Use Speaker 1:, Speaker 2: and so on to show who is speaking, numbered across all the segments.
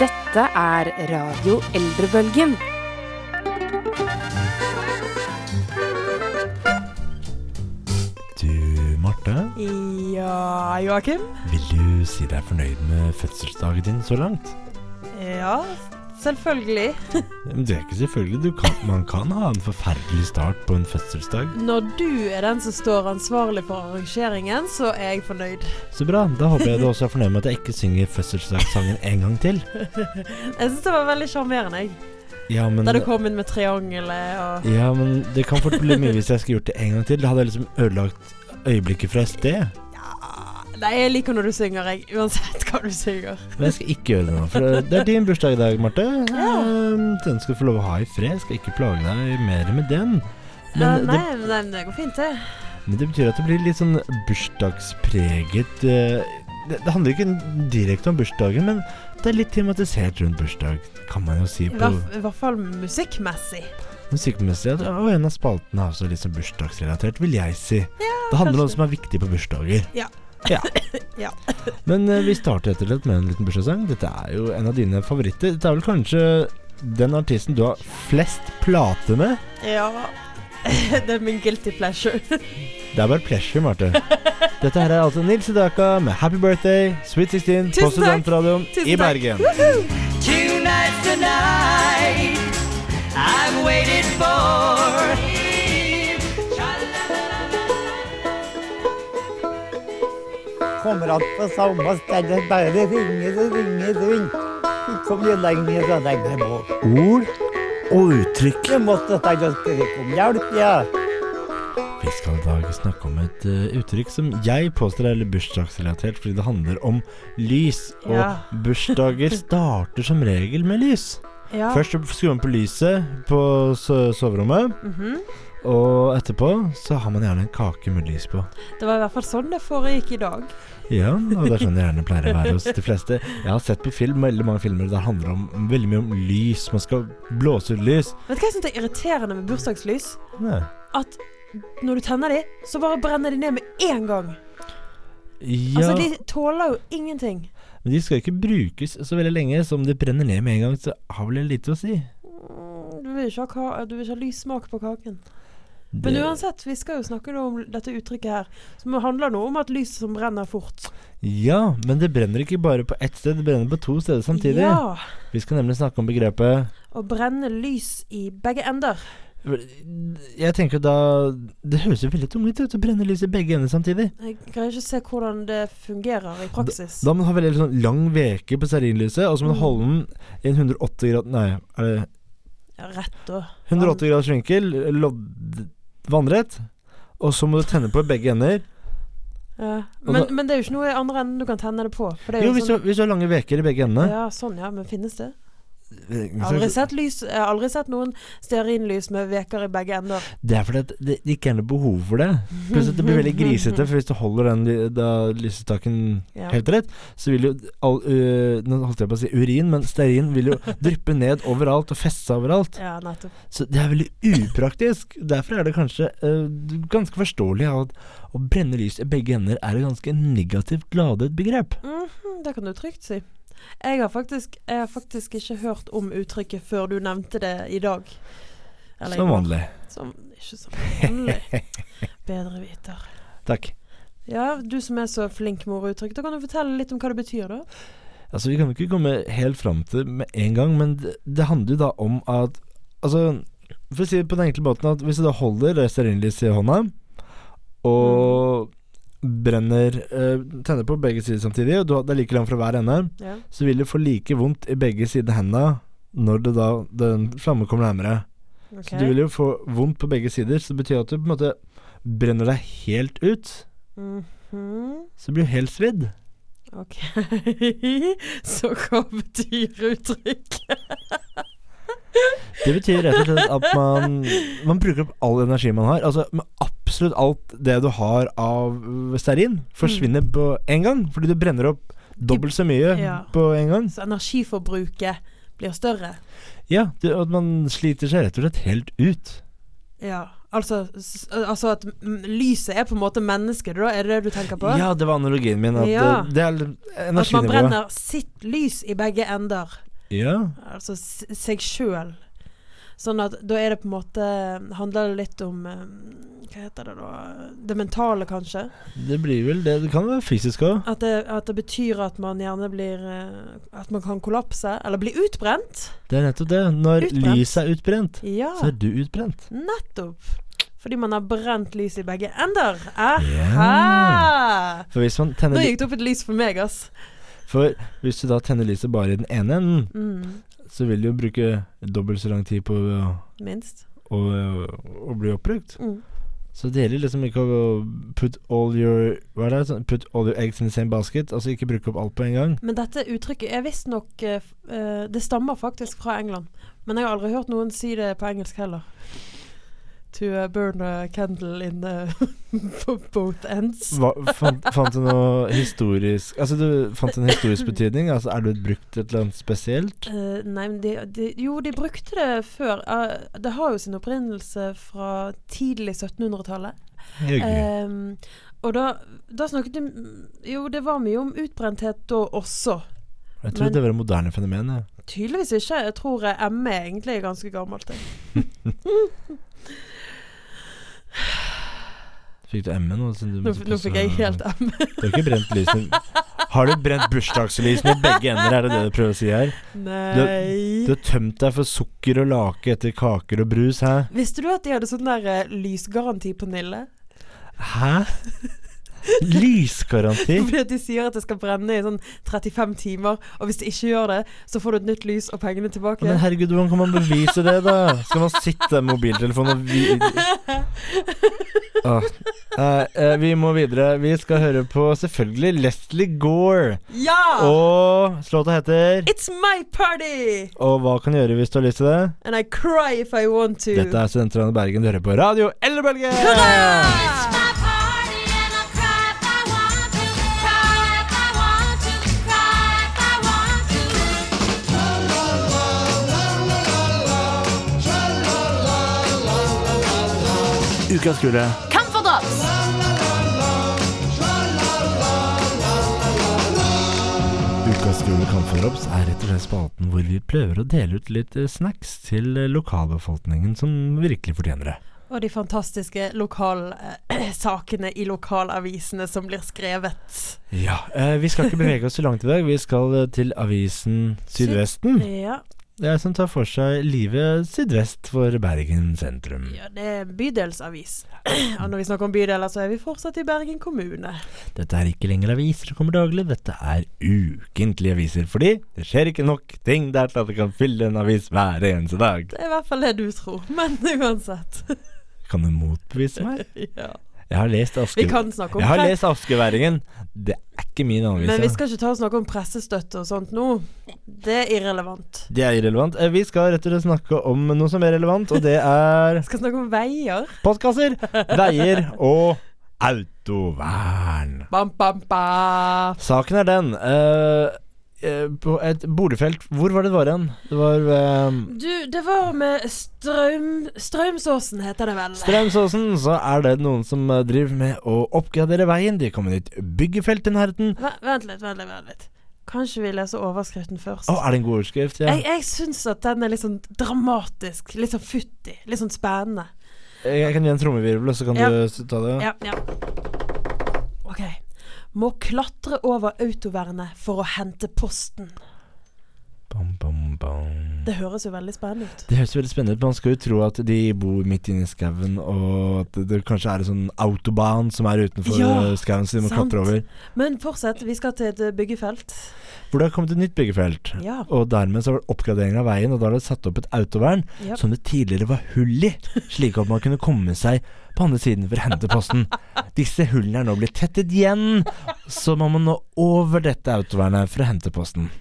Speaker 1: Dette er Radio Eldrebølgen.
Speaker 2: Du, Marte,
Speaker 3: Ja, Joakim?
Speaker 2: vil du si deg fornøyd med fødselsdagen din så langt?
Speaker 3: Ja, selvfølgelig.
Speaker 2: Men Det er ikke selvfølgelig. Du kan, man kan ha en forferdelig start på en fødselsdag.
Speaker 3: Når du er den som står ansvarlig for arrangeringen, så er jeg fornøyd.
Speaker 2: Så bra. Da håper jeg du også er fornøyd med at jeg ikke synger fødselsdagssangen en gang til.
Speaker 3: Jeg syns det var veldig sjarmerende, jeg.
Speaker 2: Ja, men
Speaker 3: Da du kom inn med triangelet og
Speaker 2: Ja, men det kan fort bli mye hvis jeg skulle gjort det en gang til. Da hadde jeg liksom ødelagt øyeblikket fra sted.
Speaker 3: Nei, jeg liker når du synger, jeg. Uansett hva du synger.
Speaker 2: Men jeg skal ikke gjøre det nå, for det er din bursdag i dag, Marte. Ehm, Den skal du få lov å ha i fred. Jeg skal ikke plage deg mer med den.
Speaker 3: Eh,
Speaker 2: Men
Speaker 3: nei,
Speaker 2: det,
Speaker 3: nei, men det går fint, det.
Speaker 2: men det betyr at det blir litt sånn bursdagspreget eh, det, det handler ikke direkte om bursdagen, men det er litt tematisert rundt bursdag, kan man jo si.
Speaker 3: I
Speaker 2: På
Speaker 3: hvert, I hvert fall musikkmessig.
Speaker 2: musikkmessig. at- Og en av spaltene er også litt sånn bursdagsrelatert, vil jeg si. Det handler om noe
Speaker 3: kanskje.
Speaker 2: som er viktig på bursdager.
Speaker 3: Ja.
Speaker 2: Ja.
Speaker 3: Ja.
Speaker 2: Men eh, vi starter etter det med en liten bursdagssang. Dette er jo en av dine favoritter. Dette er vel kanskje den artisten du har flest plater med.
Speaker 3: Ja. det er min guilty pleasure.
Speaker 2: Det er bare pleasure, Marte. Dette her er altså Nils Sedaka med 'Happy Birthday', Sweet 16,
Speaker 3: Tusen
Speaker 2: på
Speaker 3: takk.
Speaker 2: Studentradioen
Speaker 3: Tusen
Speaker 2: i
Speaker 3: takk.
Speaker 2: Bergen.
Speaker 4: Tonight's the night I've waited for.
Speaker 5: kommer han på samme sted. Bare det ringer og ringer og ringer. Ikke mye lenger og lenger bort.
Speaker 6: Ord og uttrykk.
Speaker 5: Jeg måtte ta og skrike om hjelp, ja.
Speaker 2: Vi skal i dag snakke om et eh, uttrykk som jeg påstår er litt bursdagsrelatert, fordi det handler om lys. Og
Speaker 3: Ja.
Speaker 2: bursdager starter som regel med lys.
Speaker 3: Ja.
Speaker 2: Først så skrur man på lyset på so- soverommet,
Speaker 3: Mhm.
Speaker 2: og etterpå så har man gjerne en kake med lys på.
Speaker 3: Det var i hvert fall sånn det foregikk i dag.
Speaker 2: Ja, og det er sånn det gjerne pleier å være hos de fleste. Jeg har sett på film, veldig mange filmer der det handler om, veldig mye om lys. Man skal blåse ut lys.
Speaker 3: Vet du hva jeg syns er irriterende med bursdagslys?
Speaker 2: Nei.
Speaker 3: At når du tenner de, så bare brenner de ned med én gang.
Speaker 2: Ja,
Speaker 3: Altså, de tåler jo ingenting.
Speaker 2: men de skal ikke brukes så veldig lenge, så om de brenner ned med en gang, så har vel det lite å si.
Speaker 3: Mm, Du vil ikke ha, ka du vil ikke ha lys smak på kaken. Men
Speaker 2: Det-
Speaker 3: uansett, vi skal jo snakke nå om dette uttrykket her, som handler nå om at lys som brenner fort.
Speaker 2: Ja, men det brenner ikke bare på ett sted, det brenner på to steder samtidig.
Speaker 3: Ja.
Speaker 2: Vi skal nemlig snakke om begrepet
Speaker 3: Å brenne lys i begge ender.
Speaker 2: Jeg tenker da Det høres jo veldig tungt ut å brenne lys i begge ender samtidig.
Speaker 3: Jeg greier ikke se hvordan det fungerer i praksis.
Speaker 2: Da må man ha veldig sånn lang veke på stearinlyset, og så må man
Speaker 3: Mm.
Speaker 2: holde den i en 180 grad Nei, er det
Speaker 3: Ja, Rett og
Speaker 2: 180 graders vinkel, lodd vannrett, og så må du tenne på begge ender.
Speaker 3: ja.
Speaker 2: Og
Speaker 3: men,
Speaker 2: da-
Speaker 3: men det er jo ikke noe i andre enden du kan tenne det på. For det er
Speaker 2: Altså- Jo,
Speaker 3: jo,
Speaker 2: hvis du,
Speaker 3: sånn,
Speaker 2: hvis du har lange veker i begge endene Eh,
Speaker 3: ja, sånn, ja. Men finnes det? Jeg har aldri
Speaker 2: Det
Speaker 3: sett, lys, jeg har aldri sett noen stearinlys med veker i begge ender.
Speaker 2: er fordi at det ikke er noe behov for det. Pluss at det blir veldig grisete, for hvis du holder den ly- da, lysestaken
Speaker 3: Ja.
Speaker 2: helt rett, så vil jo all, øh, Nå holdt jeg på å si urin, men stearin vil jo dryppe ned overalt og feste seg overalt.
Speaker 3: ja, nettopp.
Speaker 2: Så det er veldig upraktisk. Derfor er det kanskje eh, ganske forståelig at å brenne lys i begge ender er et ganske negativt ladet begrep.
Speaker 3: Mhm, det kan du trygt si. Jeg har, faktisk, jeg har faktisk ikke hørt om uttrykket før du nevnte det i dag. Eller i
Speaker 2: Som
Speaker 3: går.
Speaker 2: vanlig.
Speaker 3: Som, ikke som vanlig. Bedre viter.
Speaker 2: Takk.
Speaker 3: Ja, du som er så flink med orduttrykk, da kan du fortelle litt om hva det betyr, da?
Speaker 2: Altså, vi kan jo ikke komme helt fram til det med en gang, men det, det handler jo da om at Altså, for å si det på den enkle måten at hvis du da holder stearinlyset i hånda, og brenner eh, Tenner på begge sider samtidig, og du, har- det er like langt fra hver ende,
Speaker 3: Ja.
Speaker 2: så vil du få like vondt i begge sider av hendene når det da, den flammen kommer nærmere.
Speaker 3: ok.
Speaker 2: Så du vil jo få vondt på begge sider, så det betyr at du på en måte brenner deg helt ut.
Speaker 3: Mhm,
Speaker 2: Så blir du helt svidd.
Speaker 3: Ok. så hva betyr uttrykket?
Speaker 2: Det betyr rett og slett at man, man bruker opp all energi man har. Altså med absolutt alt det du har av stearin, forsvinner på en gang. Fordi du brenner opp dobbelt så mye
Speaker 3: Mm. Ja.
Speaker 2: på en gang.
Speaker 3: Så energiforbruket blir større.
Speaker 2: Ja, det, at man sliter seg rett og slett helt ut.
Speaker 3: Ja. Altså, s- altså at mm, lyset er på en måte mennesket, da? Er det det du tenker på?
Speaker 2: Ja, det var analogien min. At
Speaker 3: Ja.
Speaker 2: eh, det er
Speaker 3: At man
Speaker 2: energinivået.
Speaker 3: brenner sitt lys i begge ender.
Speaker 2: Ja.
Speaker 3: altså s- seg sjøl. Sånn at da er det på en måte Handler det litt om eh, Hva heter det da? Det mentale, kanskje.
Speaker 2: Det blir vel det. Det kan være fysisk òg.
Speaker 3: At det, at det betyr at man gjerne blir eh, At man kan kollapse. Eller bli utbrent.
Speaker 2: Det er nettopp det. Når
Speaker 3: Utbrent. Ah.
Speaker 2: lyset er utbrent,
Speaker 3: Ja,
Speaker 2: så er du utbrent.
Speaker 3: nettopp. Fordi man har brent lyset i begge ender. Aha!
Speaker 2: Ja. For hvis, man
Speaker 3: Nå
Speaker 2: tenner,
Speaker 3: gikk det opp et lys for meg, ass.
Speaker 2: for hvis du da tenner lyset bare i den ene enden,
Speaker 3: Mm,
Speaker 2: så vil du jo bruke dobbelt så lang tid på å,
Speaker 3: minst.
Speaker 2: å, å bli oppbrukt.
Speaker 3: Mm.
Speaker 2: Så det gjelder liksom ikke å put all your Hva er det? Sånn, Put all your eggs in the same basket. Altså ikke bruke opp alt på en gang.
Speaker 3: Men dette uttrykket er visstnok uh, Det stammer faktisk fra England. Men jeg har aldri hørt noen si det på engelsk heller. To eh, burn a candle in eh, for both ends.
Speaker 2: Hva, fant, fant du noe historisk Altså du fant en historisk betydning? Altså Er du brukt til et eller annet spesielt?
Speaker 3: Eh, nei, men de, de, jo, de brukte det før. Eh, det har jo sin opprinnelse fra tidlig 1700-tallet.
Speaker 2: Hyggelig.
Speaker 3: Ehm, og da, da snakket de Jo, det var mye om utbrenthet da også.
Speaker 2: Jeg
Speaker 3: men-
Speaker 2: trodde det var et moderne fenomen. jeg.
Speaker 3: Tydeligvis ikke. Jeg tror eh, ME egentlig er ganske gammelt. jeg.
Speaker 2: Fikk du ME nå? siden du
Speaker 3: Nå,
Speaker 2: måtte
Speaker 3: nå
Speaker 2: pusse-
Speaker 3: fikk jeg helt ME.
Speaker 2: Du har ikke brent lysene Har du brent bursdagslysene i begge ender, er det det du prøver å si her?
Speaker 3: Nei.
Speaker 2: Du har tømt deg for sukker og lake etter kaker og brus, hæ?
Speaker 3: Visste du at de hadde sånn der eh, lysgaranti på Nille?
Speaker 2: Hæ? Lysgaranti?
Speaker 3: Fordi at de sier at det skal brenne i sånn 35 timer, og hvis det ikke gjør det, så får du et nytt lys og pengene tilbake.
Speaker 2: Men herregud, hvordan kan man bevise det, da? Skal man sitte med mobiltelefonen og vi... Åh. Nei, eh, vi må videre. Vi skal høre på selvfølgelig Leslie Gore.
Speaker 3: ja!
Speaker 2: Og låta heter
Speaker 3: It's my party!
Speaker 2: Og hva kan du gjøre hvis du har lyst til det?
Speaker 3: And I cry if I want to.
Speaker 2: Dette er Studentlandet Bergen. Du hører på radio Eldrebølge!
Speaker 6: Ukas kule.
Speaker 2: Ukas Gule Kampforops er rett og slett spalten hvor vi prøver å dele ut litt eh, snacks til eh, lokalbefolkningen som virkelig fortjener det.
Speaker 3: Og de fantastiske lokalsakene i lokalavisene som blir skrevet.
Speaker 2: Ja, eh, Vi skal ikke bevege oss så langt i dag. Vi skal eh, til avisen Sydvesten.
Speaker 3: Ja,
Speaker 2: Det er som tar for seg livet sydvest for Bergen sentrum.
Speaker 3: ja det er en bydelsavis. Og når vi snakker om bydeler, så er vi fortsatt i Bergen kommune.
Speaker 2: Dette er ikke lenger aviser som kommer daglig, dette er ukentlige aviser. Fordi det skjer ikke nok ting der til at det kan fylle en avis hver eneste dag.
Speaker 3: Det er i hvert fall det du tror, men uansett.
Speaker 2: Kan du motbevise meg?
Speaker 3: Ja.
Speaker 2: Jeg har lest Aske...
Speaker 3: Vi kan snakke om
Speaker 2: Jeg har
Speaker 3: pre-
Speaker 2: lest Askeværingen. Det er ikke min anvise.
Speaker 3: Men vi skal ikke ta og snakke om pressestøtte og sånt nå. Det er irrelevant.
Speaker 2: Det er irrelevant. Eh, Vi skal rett og slett snakke om noe som er relevant, og det er
Speaker 3: Vi skal snakke om veier.
Speaker 2: postkasser, veier og autovern.
Speaker 3: Bam, bam, bam.
Speaker 2: Saken er den eh, eh, På et boligfelt Hvor var det det var igjen? Det var eh, ved
Speaker 3: Du, det var med strøm... Strømsåsen heter det vel.
Speaker 2: Straumsåsen, så er det noen som eh, driver med å oppgradere veien. De kommer nytt byggefelt i nærheten.
Speaker 3: Ve- Vent litt, vent litt, vent litt. Kanskje vi leser overskriften først.
Speaker 2: Å, er det en god overskrift? Ja.
Speaker 3: Jeg, jeg syns at den er litt sånn dramatisk, litt sånn futtig, litt sånn spennende.
Speaker 2: Jeg kan gi en trommevirvel, og så kan
Speaker 3: Ja.
Speaker 2: du s- ta det.
Speaker 3: Ja, ja. OK. Må klatre over autovernet for å hente posten.
Speaker 2: Bam, bam, bam.
Speaker 3: Det høres jo veldig spennende ut.
Speaker 2: Det høres veldig spennende ut. Man skal jo tro at de bor midt inne i skauen, og at det kanskje er en sånn autobahn som er utenfor
Speaker 3: Ja,
Speaker 2: eh, skauen, så de må
Speaker 3: sant.
Speaker 2: klatre over.
Speaker 3: Men fortsett, vi skal til et byggefelt.
Speaker 2: For det har kommet et nytt byggefelt.
Speaker 3: Ja.
Speaker 2: Og dermed så var det oppgradering av veien, og da har det satt opp et autovern
Speaker 3: ja.
Speaker 2: som det tidligere var hull i, slik at man kunne komme seg på andre siden for å hente posten. Disse hullene er nå blitt tettet igjen, så man må nå over dette autovernet for å hente posten.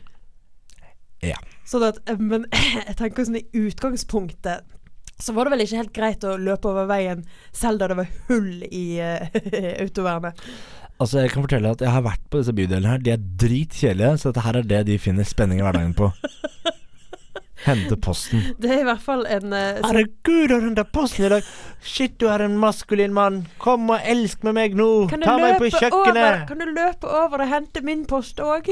Speaker 3: Sånn at, eh, men jeg tenker sånn i utgangspunktet så var det vel ikke helt greit å løpe over veien selv da det var hull i eh, autovernet.
Speaker 2: Altså, jeg kan fortelle at jeg har vært på disse bydelene her. De er dritkjedelige, så dette her er det de finner spenning i hverdagen på. Hente posten.
Speaker 3: Det er i hvert fall en eh,
Speaker 2: Herregud, har du hentet posten i dag? Shit, du er en maskulin mann. Kom og elsk med meg nå.
Speaker 3: Kan du,
Speaker 2: Ta meg på
Speaker 3: løpe over,
Speaker 2: kjøkkenet.
Speaker 3: kan du løpe over og hente min post òg?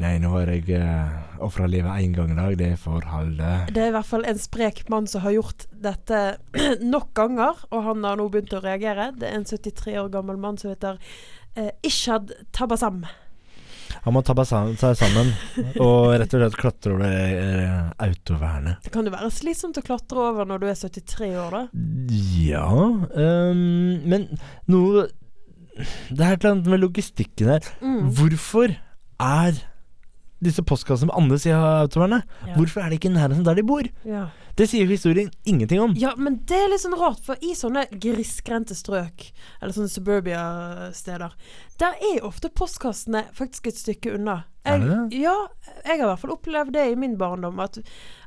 Speaker 2: Nei, nå har jeg uh, ofra livet én gang i dag. Det får holde.
Speaker 3: Det er i hvert fall en sprek mann som har gjort dette nok ganger, og han har nå begynt å reagere. Det er en 73 år gammel mann som heter eh, Ishad Tabasam.
Speaker 2: Han må ta ba- sa- seg sammen og rett og slett klatre over eh, autovernet.
Speaker 3: Det kan jo være slitsomt å klatre over når du er 73 år, da.
Speaker 2: Ja ehm, Men noe Det er et eller annet med logistikken her.
Speaker 3: Mm.
Speaker 2: Hvorfor er disse postkassene på andre sida av autovernet?
Speaker 3: Ja.
Speaker 2: Hvorfor er det ikke i nærheten der de bor?
Speaker 3: Ja.
Speaker 2: Det sier jo historien ingenting om.
Speaker 3: ja, men det er litt sånn rart, for i sånne grisgrendte strøk, eller sånne suburbia-steder, der er ofte postkassene faktisk et stykke unna.
Speaker 2: Er
Speaker 3: Jeg,
Speaker 2: det
Speaker 3: Ja, jeg har i hvert fall opplevd det i min barndom. At,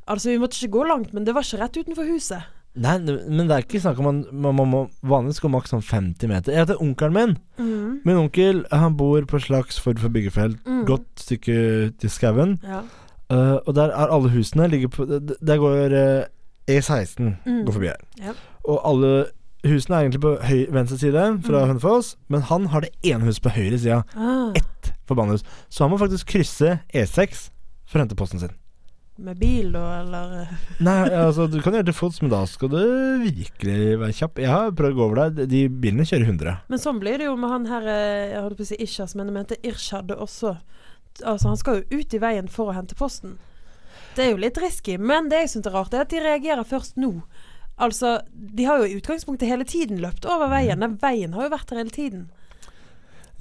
Speaker 3: altså, vi måtte ikke gå langt, men det var ikke rett utenfor huset.
Speaker 2: Nei, men det er ikke snakk om man, man, man må vanligvis gå maks sånn 50 meter. Jeg heter onkelen min.
Speaker 3: Mm.
Speaker 2: Min onkel han bor på Slagsford for byggefelt,
Speaker 3: Mm.
Speaker 2: godt stykke ut i skauen.
Speaker 3: Ja.
Speaker 2: Eh, og der er alle husene ligger på d- d- Der går eh, E16
Speaker 3: Mm.
Speaker 2: går forbi her.
Speaker 3: Ja.
Speaker 2: Og alle husene er egentlig på høy, venstre side
Speaker 3: Mm.
Speaker 2: fra Hønefoss, men han har det ene huset på høyre sida.
Speaker 3: Ah,
Speaker 2: Forbannet hus. Så han må faktisk krysse E6 for å hente posten sin.
Speaker 3: med bil, da, eller eh,
Speaker 2: Nei, altså du kan gjøre det til fots, men da skal du virkelig være kjapp. Jeg har prøvd å gå over der. De bilene kjører 100.
Speaker 3: Men sånn blir det jo med han her eh, Jeg holdt på å si Ishas, men jeg mente Irshad også. Altså, han skal jo ut i veien for å hente posten. Det er jo litt risky, men det jeg syns er rart, er at de reagerer først nå. Altså, de har jo i utgangspunktet hele tiden løpt over veien. Den veien har jo vært der hele tiden.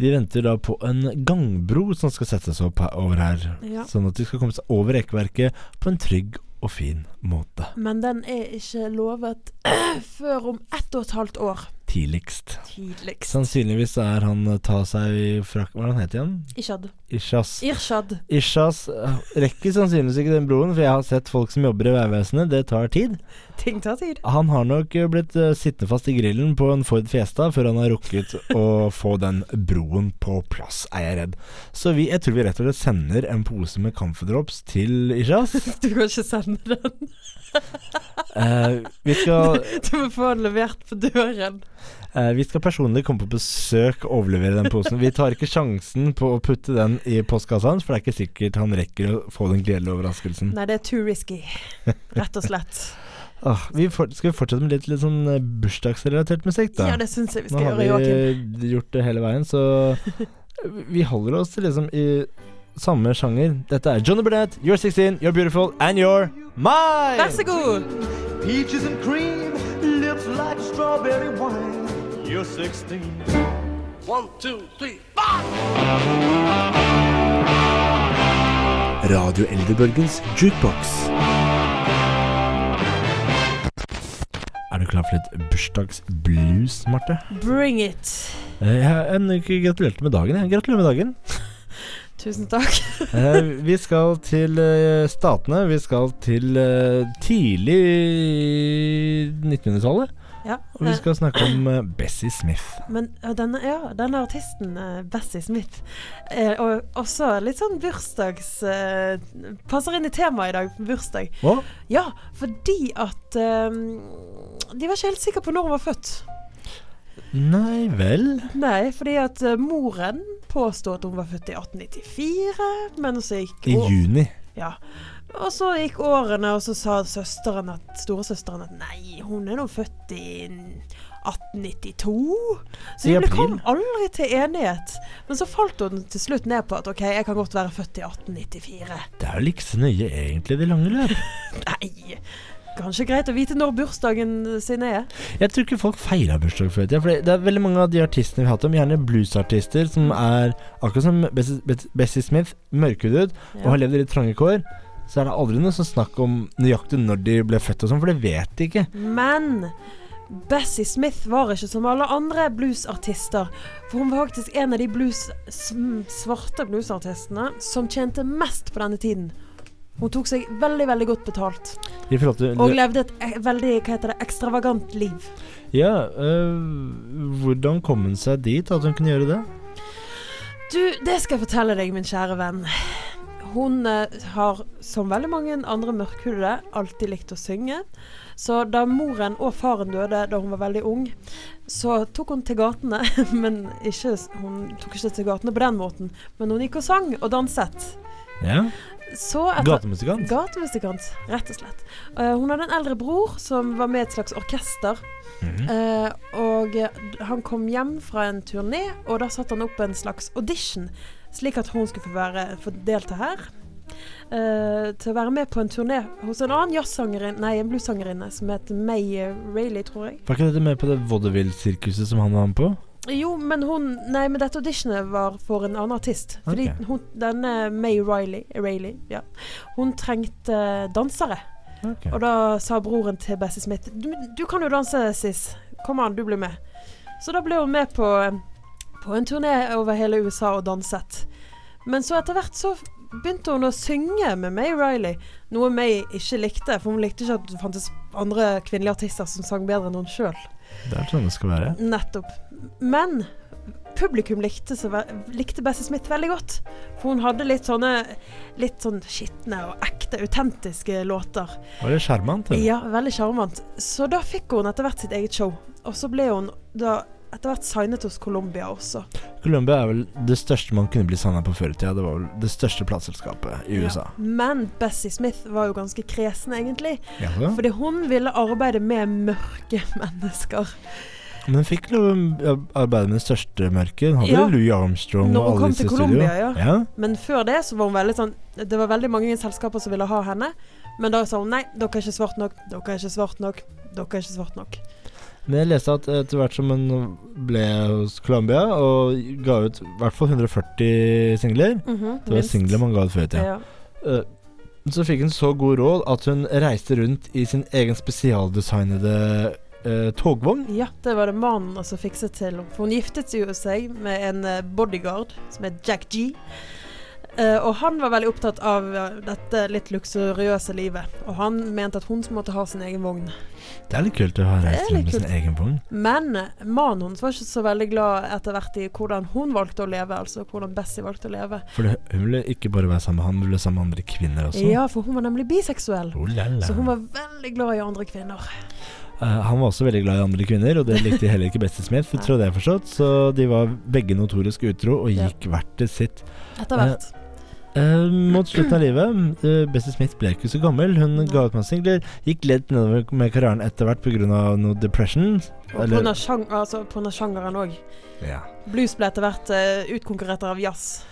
Speaker 2: De venter da på en gangbro som skal settes opp her, over her.
Speaker 3: Ja.
Speaker 2: Sånn at de skal komme seg over rekkverket på en trygg og fin måte.
Speaker 3: Men den er ikke lovet før om ett og et halvt år.
Speaker 2: Tidligst.
Speaker 3: Tidligst.
Speaker 2: Sannsynligvis er han eh, ta seg i frakk... Hva er det han heter igjen?
Speaker 3: Ishad.
Speaker 2: Ishas.
Speaker 3: Irshad.
Speaker 2: Ishas eh, rekker sannsynligvis ikke den broen, for jeg har sett folk som jobber i Vegvesenet. Det tar tid.
Speaker 3: Ting tar tid.
Speaker 2: Han har nok eh, blitt eh, sittende fast i grillen på en Ford Fiesta før han har rukket å få den broen på plass, er jeg redd. Så vi, jeg tror vi rett og slett sender en pose med Camphordrops til Ishas.
Speaker 3: Du kan ikke sende den.
Speaker 2: Eh, vi, skal,
Speaker 3: Du må få den levert på døren.
Speaker 2: eh, vi skal personlig komme på besøk og overlevere den posen. Vi tar ikke sjansen på å putte den i postkassa hans, for det er ikke sikkert han rekker å få den gledelige overraskelsen.
Speaker 3: Nei, det er too risky. Rett og slett.
Speaker 2: Ah, vi for, skal vi fortsette med litt, litt sånn eh, bursdagsrelatert musikk, da?
Speaker 3: Ja, det syns jeg vi
Speaker 2: Nå
Speaker 3: skal
Speaker 2: har
Speaker 3: gjøre,
Speaker 2: vi
Speaker 3: Joakim.
Speaker 2: eh, gjort det hele veien, så vi holder oss til liksom i samme sjanger. Dette er Johnny Burnett, You're 16, You're Beautiful, and You're Mine!
Speaker 3: Vær så god!
Speaker 4: Peaches and cream, lips like strawberry wine. You're 16. One, two, three.
Speaker 6: Radio Eldrebølgens jukebox.
Speaker 2: Er du klar for litt bursdagsblues, Marte?
Speaker 3: Bring it.
Speaker 2: Eh, Jeg en- gratulerte med dagen. Jeg gratulerer med dagen.
Speaker 3: Tusen takk.
Speaker 2: Eh, Vi skal til eh, Statene. Vi skal til eh, tidlig 1900-tallet.
Speaker 3: Ja,
Speaker 2: Og vi
Speaker 3: eh,
Speaker 2: skal snakke om eh, Bessie Smith.
Speaker 3: men eh, denne, ja, denne artisten, eh, Bessie Smith, eh, og også litt sånn bursdags... eh, passer inn i temaet i dag, bursdag.
Speaker 2: Hva?
Speaker 3: Ja, fordi at eh, De var ikke helt sikre på når hun var født.
Speaker 2: Nei vel.
Speaker 3: Nei, fordi at eh, moren påstod at hun var født i 1894, men så gikk
Speaker 2: I
Speaker 3: å-
Speaker 2: juni.
Speaker 3: Ja. Og så gikk årene, og så sa søsteren at, storesøsteren at nei, hun er nå født i 1892. Så
Speaker 2: I
Speaker 3: de ble
Speaker 2: april.
Speaker 3: kom aldri til enighet. Men så falt hun til slutt ned på at OK, jeg kan godt være født i 1894.
Speaker 2: Det er jo like så nøye egentlig det lange løp.
Speaker 3: Nei. Kanskje greit å vite når bursdagen sin er.
Speaker 2: Jeg tror ikke folk feirer bursdag før i tida. For det- det er veldig mange av de artistene vi har hatt om, gjerne bluesartister, som er akkurat som Bessie, Bes- Bessie Smith, mørkhudet og har levd i litt trange kår. Så er det aldri noe sånn snakk om nøyaktig når de ble født og sånn, for det vet de ikke.
Speaker 3: Men Bessie Smith var ikke som alle andre bluesartister. For hun var faktisk en av de blues, sm- svarte bluesartistene som tjente mest på denne tiden. Hun tok seg veldig veldig godt betalt
Speaker 2: I forhold til
Speaker 3: og levde et e- veldig hva heter det, ekstravagant liv.
Speaker 2: Ja, øh, hvordan kom hun seg dit at hun kunne gjøre det?
Speaker 3: Du, det skal jeg fortelle deg, min kjære venn. Hun eh, har, som veldig mange andre mørkhudede, alltid likt å synge. Så da moren og faren døde da hun var veldig ung, så tok hun til gatene. Men ikke, hun tok ikke til gatene på den måten, men hun gikk og sang og danset.
Speaker 2: Ja.
Speaker 3: Så etter
Speaker 2: Gatemusikant.
Speaker 3: Gatemusikant, rett og slett. Eh, hun hadde en eldre bror som var med i et slags orkester.
Speaker 2: Mhm.
Speaker 3: Eh, og eh, han kom hjem fra en turné, og da satte han opp en slags audition, slik at hun skulle få, være, få delta her. eh, til å være med på en turné hos en annen jazzsangerinne, nei, en bluessangerinne som het May eh, Rayleigh, tror jeg.
Speaker 2: Var ikke dette med på det vaudeville-sirkuset som han var med på?
Speaker 3: Jo, men hun Nei, men dette auditionet var for en annen artist. Fordi
Speaker 2: Ok.
Speaker 3: hun, denne May Riley, Rayleigh, ja, hun trengte dansere.
Speaker 2: Ok.
Speaker 3: Og da sa broren til Bessie Smith du, du kan jo danse, Sis. Kom an, du blir med. Så da ble hun med på, på en turné over hele USA og danset. Men så etter hvert så begynte hun å synge med May Riley, noe May ikke likte. For hun likte ikke at det fantes andre kvinnelige artister som sang bedre enn hun sjøl.
Speaker 2: Det er sånn det skal være.
Speaker 3: Nettopp. Men publikum likte, så ve likte Bessie Smith veldig godt. For hun hadde litt sånne litt sånn skitne og ekte, autentiske låter.
Speaker 2: Var det sjarmant? eller?
Speaker 3: Ja, veldig sjarmant. Så da fikk hun etter hvert sitt eget show. Og så ble hun da etter hvert signet hos Colombia også.
Speaker 2: Columbia er vel det største man kunne bli sanna på før i tida. Det var vel det største plateselskapet i USA.
Speaker 3: Ja. Men Bessie Smith var jo ganske kresen, egentlig.
Speaker 2: Jaså?
Speaker 3: Fordi hun ville arbeide med mørke mennesker.
Speaker 2: Men hun fikk lov å arbeide med det største mørket. Hun hadde
Speaker 3: Ja.
Speaker 2: Louis Armstrong
Speaker 3: Når
Speaker 2: og
Speaker 3: hun
Speaker 2: alle
Speaker 3: kom
Speaker 2: disse i
Speaker 3: til
Speaker 2: studio.
Speaker 3: Colombia, ja. Men før det så var hun veldig sånn Det var veldig mange selskaper som ville ha henne. Men da sa hun nei, dere er ikke svart nok, dere er ikke svart nok, dere er ikke svart nok.
Speaker 2: Men jeg leste at etter hvert som hun ble hos Colombia og ga ut i hvert fall 140 singler Det var
Speaker 3: Minst.
Speaker 2: singler man ga ut før i tida.
Speaker 3: Ja.
Speaker 2: Eh, Så fikk hun så god råd at hun reiste rundt i sin egen spesialdesignede eh, togvogn.
Speaker 3: Ja, det var det mannen altså fikset til. henne. For hun giftet jo seg med en eh, bodyguard som het Jack G. Eh, og han var veldig opptatt av eh, dette litt luksuriøse livet. Og han mente at hun måtte ha sin egen vogn.
Speaker 2: Det er litt kult å ha
Speaker 3: Det
Speaker 2: reist
Speaker 3: er
Speaker 2: rundt med
Speaker 3: litt
Speaker 2: sin egen vogn.
Speaker 3: Men eh, mannen hennes var ikke så veldig glad etter hvert i hvordan hun valgte å leve. Altså hvordan Bessie valgte å leve.
Speaker 2: For det- hun ville ikke bare være sammen med han, hun ville være sammen med andre kvinner også.
Speaker 3: Ja, for hun var nemlig biseksuell.
Speaker 2: Oh, la, la.
Speaker 3: Så hun var veldig glad i andre kvinner.
Speaker 2: Eh, han var også veldig glad i andre kvinner, og det likte heller ikke Bessie Smith, for
Speaker 3: Nei.
Speaker 2: trodde jeg forstått, så de var begge notorisk utro og gikk hvert til sitt.
Speaker 3: Etter hvert.
Speaker 2: Eh, mot slutten av livet, eh, Bessie Smith ble ikke så gammel, hun
Speaker 3: Nei.
Speaker 2: ga ut masse singler, gikk litt nedover med karrieren etter hvert pga. noe depression.
Speaker 3: Og på denne sjang- altså, på denne sjangeren òg.
Speaker 2: ja.
Speaker 3: Blues ble etter hvert eh, utkonkurrert av jazz.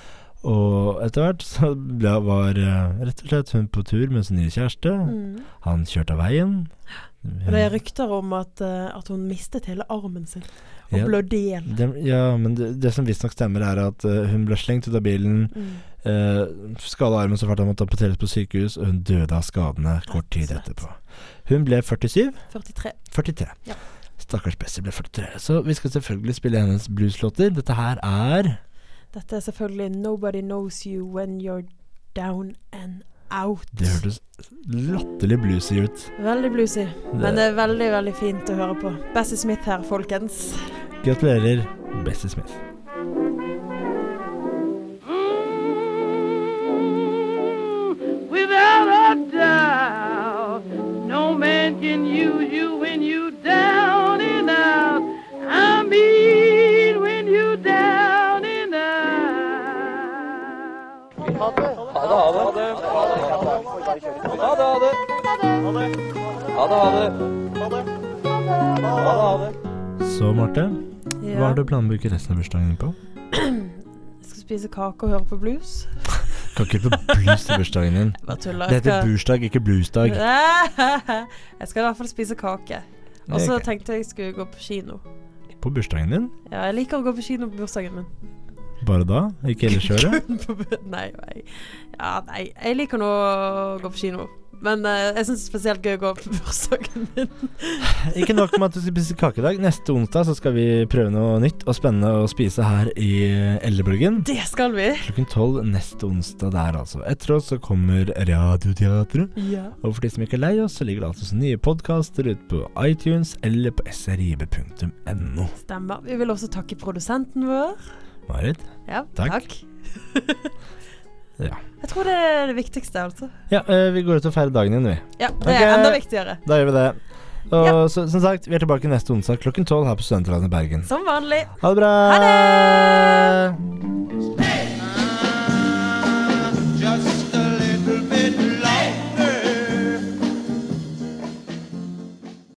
Speaker 2: Og etter hvert så ble, var eh, rett og slett hun på tur med sin nye kjæreste.
Speaker 3: Mm.
Speaker 2: Han kjørte av veien.
Speaker 3: Og det er rykter om at, eh, at hun mistet hele armen sin og
Speaker 2: Ja.
Speaker 3: blødde igjen.
Speaker 2: Det, ja, men det, det som visstnok stemmer, er at eh, hun ble slengt ut av bilen,
Speaker 3: Mm.
Speaker 2: uh, skada armen så fælt han måtte amputeres på sykehus, og hun døde av skadene kort tid
Speaker 3: Rett og slett.
Speaker 2: etterpå. Hun ble 47.
Speaker 3: 43.
Speaker 2: 43.
Speaker 3: Ja.
Speaker 2: Stakkars Bessie ble 43. Så vi skal selvfølgelig spille hennes blueslåter. Dette her er
Speaker 3: Dette er selvfølgelig 'Nobody Knows You When You're Down and Out'.
Speaker 2: Det hørtes latterlig bluesy ut.
Speaker 3: Veldig bluesy, men
Speaker 2: Det-
Speaker 3: det er veldig, veldig fint å høre på. Bessie Smith her, folkens.
Speaker 2: Gratulerer, Bessie Smith.
Speaker 7: without a doubt. No man can use you when you down and out. I mean when you down and out.
Speaker 2: Så, Marte, hva
Speaker 3: Ja.
Speaker 2: har du planer om å bruke resten av bursdagen din på?
Speaker 3: Jeg skal spise kake og høre på blues.
Speaker 2: Kan ikke på blues til bursdagen din.
Speaker 3: Bare tuller.
Speaker 2: Det
Speaker 3: jeg
Speaker 2: heter
Speaker 3: skal-
Speaker 2: bursdag, ikke bluesdag.
Speaker 3: Jeg skal i hvert fall spise kake. Og
Speaker 2: Det er
Speaker 3: så
Speaker 2: ikke-
Speaker 3: tenkte jeg jeg skulle gå på kino.
Speaker 2: På bursdagen din?
Speaker 3: Ja, jeg liker å gå på kino på bursdagen min.
Speaker 2: Bare da? Ikke ellers i året?
Speaker 3: nei, nei. Ja, nei, jeg liker nå å gå på kino. Men eh, jeg syns det er spesielt gøy å gå på bursdagen min.
Speaker 2: Ikke nok med at du skal spise kake i dag. Neste onsdag så skal vi prøve noe nytt og spennende å spise her i Eldrebølgen.
Speaker 3: Det skal vi.
Speaker 2: Klokken tolv neste onsdag der, altså. Etter oss så kommer Radioteatret.
Speaker 3: Ja.
Speaker 2: Og for de som ikke er lei oss, så ligger det altså nye podkaster ute på iTunes eller på srib.no.
Speaker 3: Stemmer. Vi vil også takke produsenten vår.
Speaker 2: Marit?
Speaker 3: Ja,
Speaker 2: Takk. Ja.
Speaker 3: Jeg tror det er det viktigste, altså.
Speaker 2: Ja, eh, vi går ut og feirer dagen igjen, vi.
Speaker 3: Ja, det
Speaker 2: Ok.
Speaker 3: er enda viktigere.
Speaker 2: Da gjør vi det. Og
Speaker 3: Ja.
Speaker 2: så, som sagt, vi er tilbake neste onsdag klokken tolv her på Studentlandet i Bergen.
Speaker 3: Som vanlig.
Speaker 2: Ha det bra!
Speaker 3: Ha det!